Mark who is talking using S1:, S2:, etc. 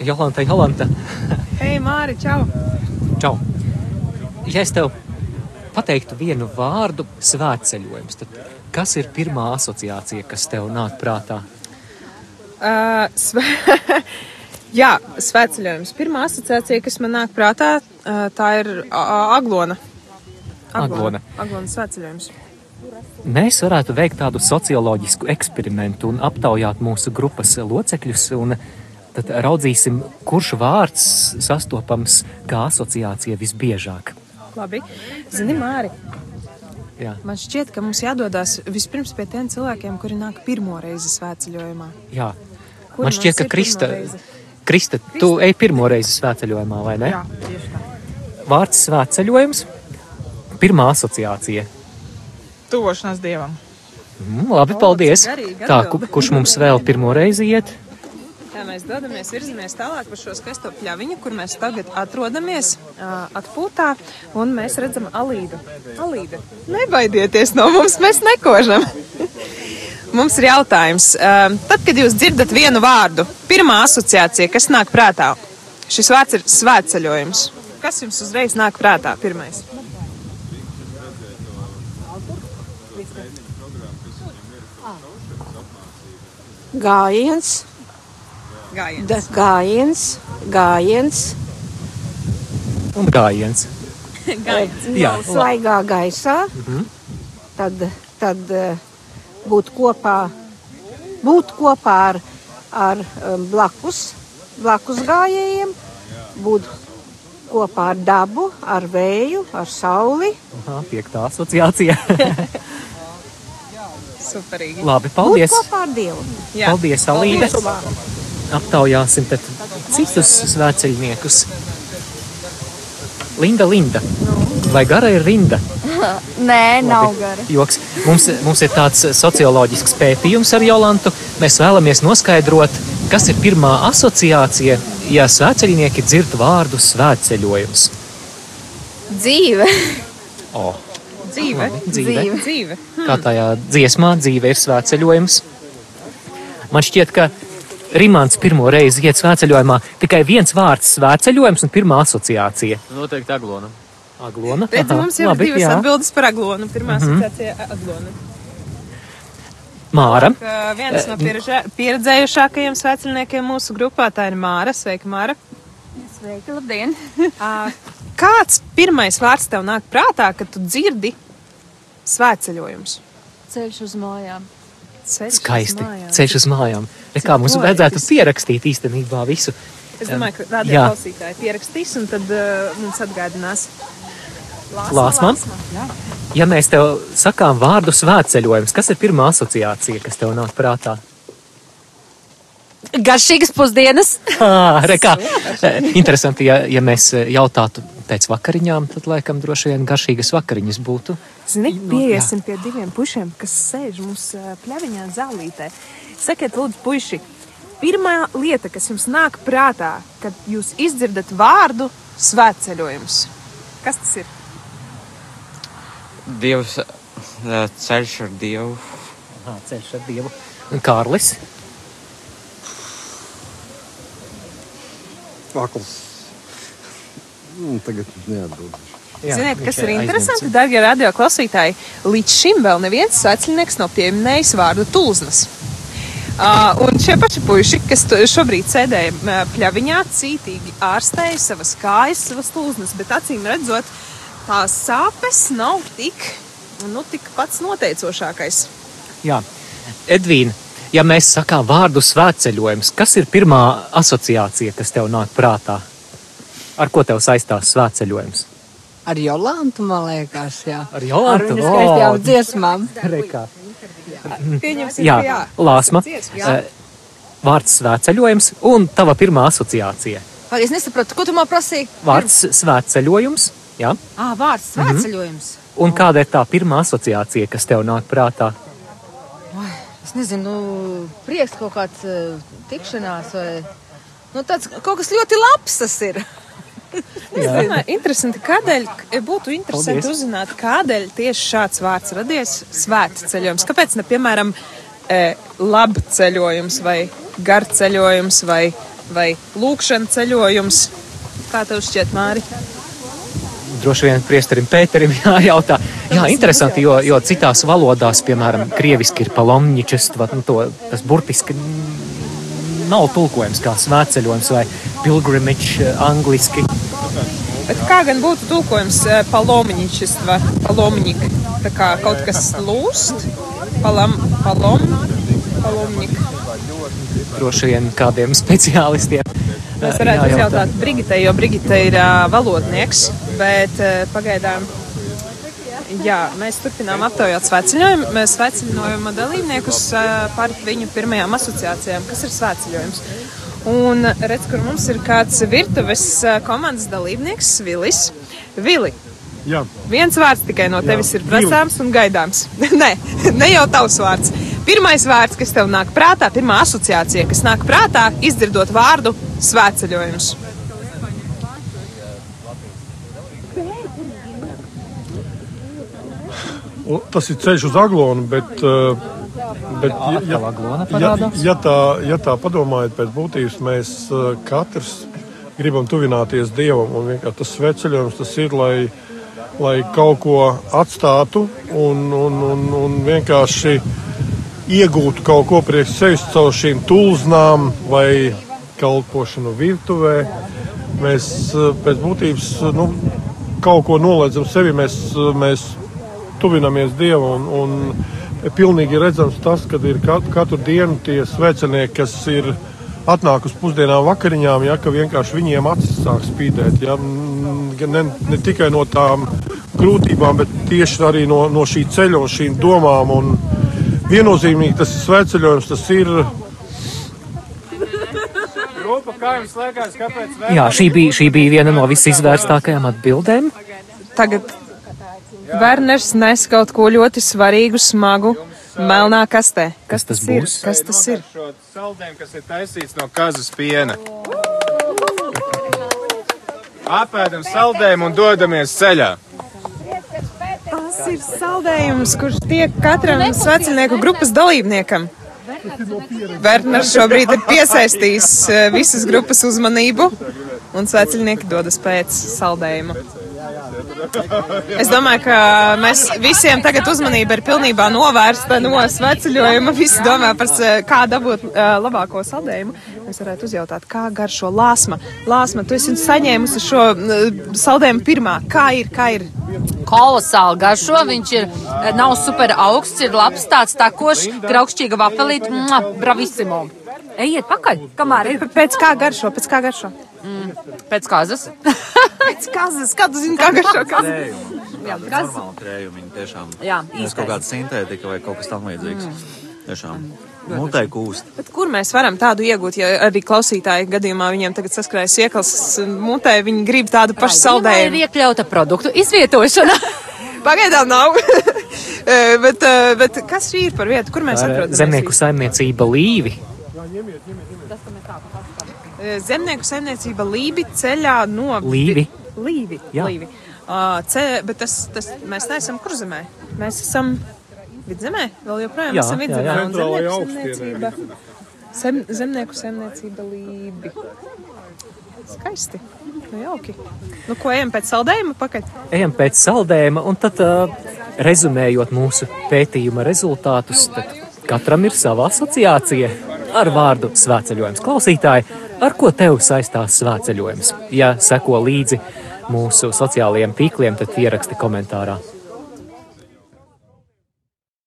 S1: Jolanta, Jolanta,
S2: Hei, Māri, čau!
S1: čau! Ja es tev pateiktu vienu vārdu svētceļojums, tad kas ir pirmā asociācija, kas tev nāk prātā?
S2: Uh, sve... Jā, svētceļojums. Pirmā asociācija, kas man nāk prātā, uh, tā ir uh, Aglona.
S1: Aglona.
S2: Aglona svētceļojums.
S1: Mēs varētu veikt tādu socioloģisku eksperimentu un aptaujāt mūsu grupas locekļus. un Tad raudzīsim, kurš vārds sastopams kā asociācija visbiežāk.
S2: Labi. Zini, Māri,
S1: Jā,
S2: man šķiet, ka mums jādodas vispirms pie tiem cilvēkiem, kuri nāk pirmo reizi svētceļojumā.
S1: jā.
S2: Kur
S1: man šķiet,
S2: mums
S1: ka
S2: ir pirmo
S1: Krista,
S2: reizi?
S1: Krista, tu ej pirmo reizi svētceļojumā, vai ne?
S2: Jā, tieši tā.
S1: Vārds svētceļojums, pirmā asociācija.
S3: Tuvošanās dievam.
S1: Mm, labi,
S2: O,
S1: paldies.
S2: cik garīgi
S1: Tā,
S2: atbildi.
S1: ku- kurš mums vēl pirmo reizi iet?
S2: Tā mēs dodamies, virzamies tālāk par šo skaisto pļaviņu, kur mēs tagad atrodamies ā, atpūtā, un mēs redzam Alīdu. Alīda, nebaidieties no mums, mēs nekožam. Mums ir jautājums. ā, Tad, kad jūs dzirdat vienu vārdu, pirmā asociācija, kas nāk prātā, šis vārds ir svētceļojums. Kas jums uzreiz nāk prātā pirmais?
S4: Gājiens,
S2: Gājiens.
S4: da, gājiens, gājiens,
S1: Un gājiens. Jā, Mhm.
S4: Jā, Eh, svaigā gaisā. Tad, tad eh, būt kopā, būt kopā ar, ar em, blakus, blakus gājējiem, būt kopā ar dabu, ar vēju, ar sauli.
S1: Aha, piektā asociācija.
S2: Superīgi.
S1: labi,
S4: Būt
S1: paldies.
S4: kopā ar Dievu.
S2: Jā.
S1: Paldies, Alīda. Aptaujāsim tad citus svētceļniekus. Linda, Linda. Vai gara ir rinda?
S5: Nē, nav
S1: Labi.
S5: gara.
S1: Joks. Mums, mums ir tāds socioloģisks pētījums ar Jolantu. Mēs vēlamies noskaidrot, kas ir pirmā asociācija, ja svētceļnieki dzird vārdu svētceļojums.
S5: Dzīve.
S1: O,
S2: Dzīve.
S1: dzīve.
S5: Dzīve.
S2: Dzīve.
S1: kā tajā dziesmā dzīve ir svētceļojums. Man šķiet, ka Rimants pirmo reizi iet svētceļojumā tikai viens vārds - svētceļojums un pirmā asociācija.
S6: Noteikti aglona.
S1: Aglona.
S2: Redz,
S1: Aha,
S2: mums jau ir
S1: labi,
S2: divas
S1: jā. Mhm.
S2: atbildes par aglonu. Pirmā asociācija - aglonu.
S1: Māra.
S2: Ka viens no piereža- pieredzējušākajiem sveiciniekiem mūsu grupā tā ir Māra. Sveika, Māra.
S5: Sveiki, labdien.
S2: Kāds pirmais vārds tev nāk prātā, kad tu dzirdi svētceļojumus?
S5: Ceļš uz mājām.
S2: Ceļš uz
S1: Skaisti.
S2: mājām.
S1: Ceļš uz mājām. Re, Kā mums
S2: poetiski.
S1: vajadzētu pierakstīt īstenībā visu.
S2: Es domāju, ka radio
S1: Jā.
S2: klausītāji pierakstīs un tad uh, mums atgādinās.
S1: Lāsmam? Ja mēs tev sakām vārdu svētceļojums, kas ir pirmā asociācija, kas tev nāk prātā?
S5: Garšīgas pusdienas.
S1: Ā, Ah, re, kā. eh, Interesanti, ja, ja mēs eh, jautātu pēc vakariņām, tad laikam droši vien garšīgas vakariņas būtu.
S2: Zini,
S1: Nu,
S2: pieiesim pie diviem pušiem, kas sēž mūsu ā, pļaviņā zālītē. Sakiet, lūdzu, puiši, pirmā lieta, kas jums nāk prātā, kad jūs izdzirdat vārdu svētceļojums. Kas tas ir?
S6: Dievs, eh, ceļš ar dievu.
S1: Aha, ceļš ar dievu. Un Kārlis,
S7: Akls. Nu, tagad neatbildēšu.
S1: Jā,
S2: Ziniet,
S1: viņš
S2: kas
S1: ir
S2: ir interesanti,
S1: aizņemts.
S2: darbie radio klausītāji? Līdz šim vēl neviens svētceļnieks nav pieminējis vārdu tulznas. Uh, un šie paši puiši, kas to- šobrīd sēdēja ā, pļaviņā, cītīgi ārstēja savas kājas, savas tulznas, bet acīm redzot, tās sāpes nav tik, nu, tik pats noteicošākais.
S1: Jā. Edvīna, ja mēs sakām vārdu svētceļojums, kas ir pirmā asociācija, kas tev nāk prātā? Ar ko tev saistās svētceļojums?
S4: Ar Jolantu, man liekas, jā.
S1: Ar Jolantu?
S4: Ar
S1: O,
S4: viņas skaistām dziesmām.
S1: Reikā. Mm.
S2: Pieņemsim,
S1: Jā,
S2: ka jā.
S1: Lāsma.
S2: dziesmu, jā.
S1: eh, Vārds svētceļojums un tava pirmā asociācija.
S5: Vai es nesaprotu, ko tu man prasīji?
S1: Vārds svētceļojums, jā.
S5: Ah, vārds svētceļojums.
S1: Un kāda ir tā pirmā asociācija, kas tev nāk prātā?
S5: Es nezinu, nu, prieks kaut kāds eh, tikšanās vai. Nu, tāds kaut kas ļoti labs tas ir.
S2: Es domāju, interesanti, kādēļ e, būtu interesanti
S1: Paldies.
S2: Paldies. uzzināt, kādēļ tieši šāds vārds radies svēta ceļojums. Kāpēc ne piemēram e, labceļojums vai garceļojums vai vai lūkšana ceļojums. Kā tev šķiet, Māri?
S1: Droši vien priesterim Pēterim jājautā. Jā, interesanti, jo, jo citās valodās, piemēram, krieviski ir palomničestva, nu, to, tas burtiski mm, nav tulkojums kā svētceļojums vai pilgrimage eh, angliski.
S2: Bet kā gan būtu tulkojums e, palomniņšis vai palomnik? Tā kā kaut kas lūst, palam, palom, palomnik.
S1: Droši vien kādiem speciālistiem. eh,
S2: Mēs varētu
S1: jājautā.
S2: uzjautāt Brigitei, jo Brigita ir ā, valodnieks, bet ā, pagaidām. Jā, mēs turpinām aptaujāt svētceļojumu, svētceļojuma dalībniekus ā, par viņu pirmajām asociācijām, kas ir svētceļojums. Un redz, kur mums ir kāds virtuves ā, komandas dalībnieks, Vilis. Vili,
S8: Jā,
S2: Viens vārds tikai no tevis ir prasāms un gaidāms. Nē, ne jau tavs vārds. Pirmais vārds, kas tev nāk prātā, pirmā asociācija, kas nāk prātā, izdzirdot vārdu svētceļojums.
S8: u- tas ir ceļš uz aglonu, bet, uh, bet ja, ja,
S1: Aglona
S8: ja,
S1: parādās?
S8: ja, tā, ja tā padomājat pēc būtības, mēs uh, katrs gribam tuvināties Dievam un vienkārši tas sveceļojums tas ir, lai, lai kaut ko atstātu un, un, un, un vienkārši iegūtu kaut ko priekš sevis caur šīm tulznām vai kalpošanu virtuvē. Mēs uh, pēc būtības uh, nu, kaut ko noliedzam sevi, mēs, uh, mēs tuvinamies Dievam. Un, un pilnīgi redzams tas, ka ir katru, katru dienu tie svecinieki, kas ir atnākuši pusdienām vakariņām, ja, ka vienkārši viņiem acis sāk spīdēt. Ja, mm, gan ne, ne tikai no tām grūtībām, bet tieši arī no, no šī ceļa un šīm domām. Un viennozīmīgi tas ir sveceļojums, tas ir
S1: Jā, šī bija, šī bija viena no visizvērstākajām atbildēm.
S2: Tagad Werners nes kaut ko ļoti svarīgu, smagu, melnā kastē.
S1: Kas tas
S2: ir?
S1: būs?
S2: Kas tas ir?
S9: Saldējums, kas ir taisīts no kazas piena. Apēdam saldējumu un dodamies ceļā.
S2: Tas ir saldējums, kurš tiek katram svecinieku grupas dalībniekam. Vērtners šobrīd ir piesaistījis eh, visas grupas uzmanību, un svecinieki dodas pēc saldējuma. Es domāju, ka mēs visiem tagad uzmanība ir pilnībā novērsta no sveciļojuma. Visi domā par s- kā dabūt eh, labāko saldējumu. Mēs varētu uzjautāt, kā garšo lāsma. Lāsma, tu esi saņēmusi šo eh, saldējumu pirmā. Kā ir, kā ir?
S10: kolosāli garšo. Viņš ir, eh, nav super augsts, ir labs, tāds takošs, graukšķīga vapelīte, Mua, bravissimo. Ejiet pakaļ, kamēr ir
S2: Pēc kā garšo, pēc kā garšo?
S10: pēc kāzas.
S2: Pēc kazas, kā tu zini, kā garšo kazas?
S10: Jā,
S6: Kas?
S10: kas?
S6: Normāli trējumi, viņi tiešām.
S10: Jā,
S6: Nevis
S10: īstais.
S6: kaut kāda sintētika vai kaut kas tam līdzīgs. Mm. Tiešām. Mutē kūst.
S2: Bet kur mēs varam tādu iegūt, ja arī klausītāji gadījumā viņiem tagad saskarējas iekals mutē, viņi grib tādu pašu
S10: Saldējumā
S2: saldējumu?
S10: ir iekļauta produktu izvietošana.
S2: Pagaidām nav. Eh, bet, eh, bet kas šī ir par vietu, kur mēs atrodamies?
S1: eh, Zemnieku saimniecība Līvi.
S2: Eh, Zemnieku saimniecība Lībi ceļā no
S1: Līvi.
S2: Līvi.
S1: Jā.
S2: Līvi. Uh, ce, bet tas, tas, mēs neesam kurzemē. Mēs esam vidzemē. Vēl joprojām
S1: Jā,
S2: esam
S1: jā,
S2: vidzemē.
S1: jā.
S2: Un
S8: Centrālajā
S2: zemnieku
S8: augstienē.
S2: saimniecība. Sem, zemnieku saimniecība lībi. Skaisti. Nu, jauki. Nu, ko ejam pēc saldējuma pakaļ?
S1: Ejam pēc saldējuma, un tad, ā, rezumējot mūsu pētījuma rezultātus, tad katram ir sava asociācija ar vārdu svētceļojums. Klausītāji, ar ko tev saistās svētceļojums? Ja seko līdzi mūsu sociālajiem tīkliem, tad ieraksti komentārā.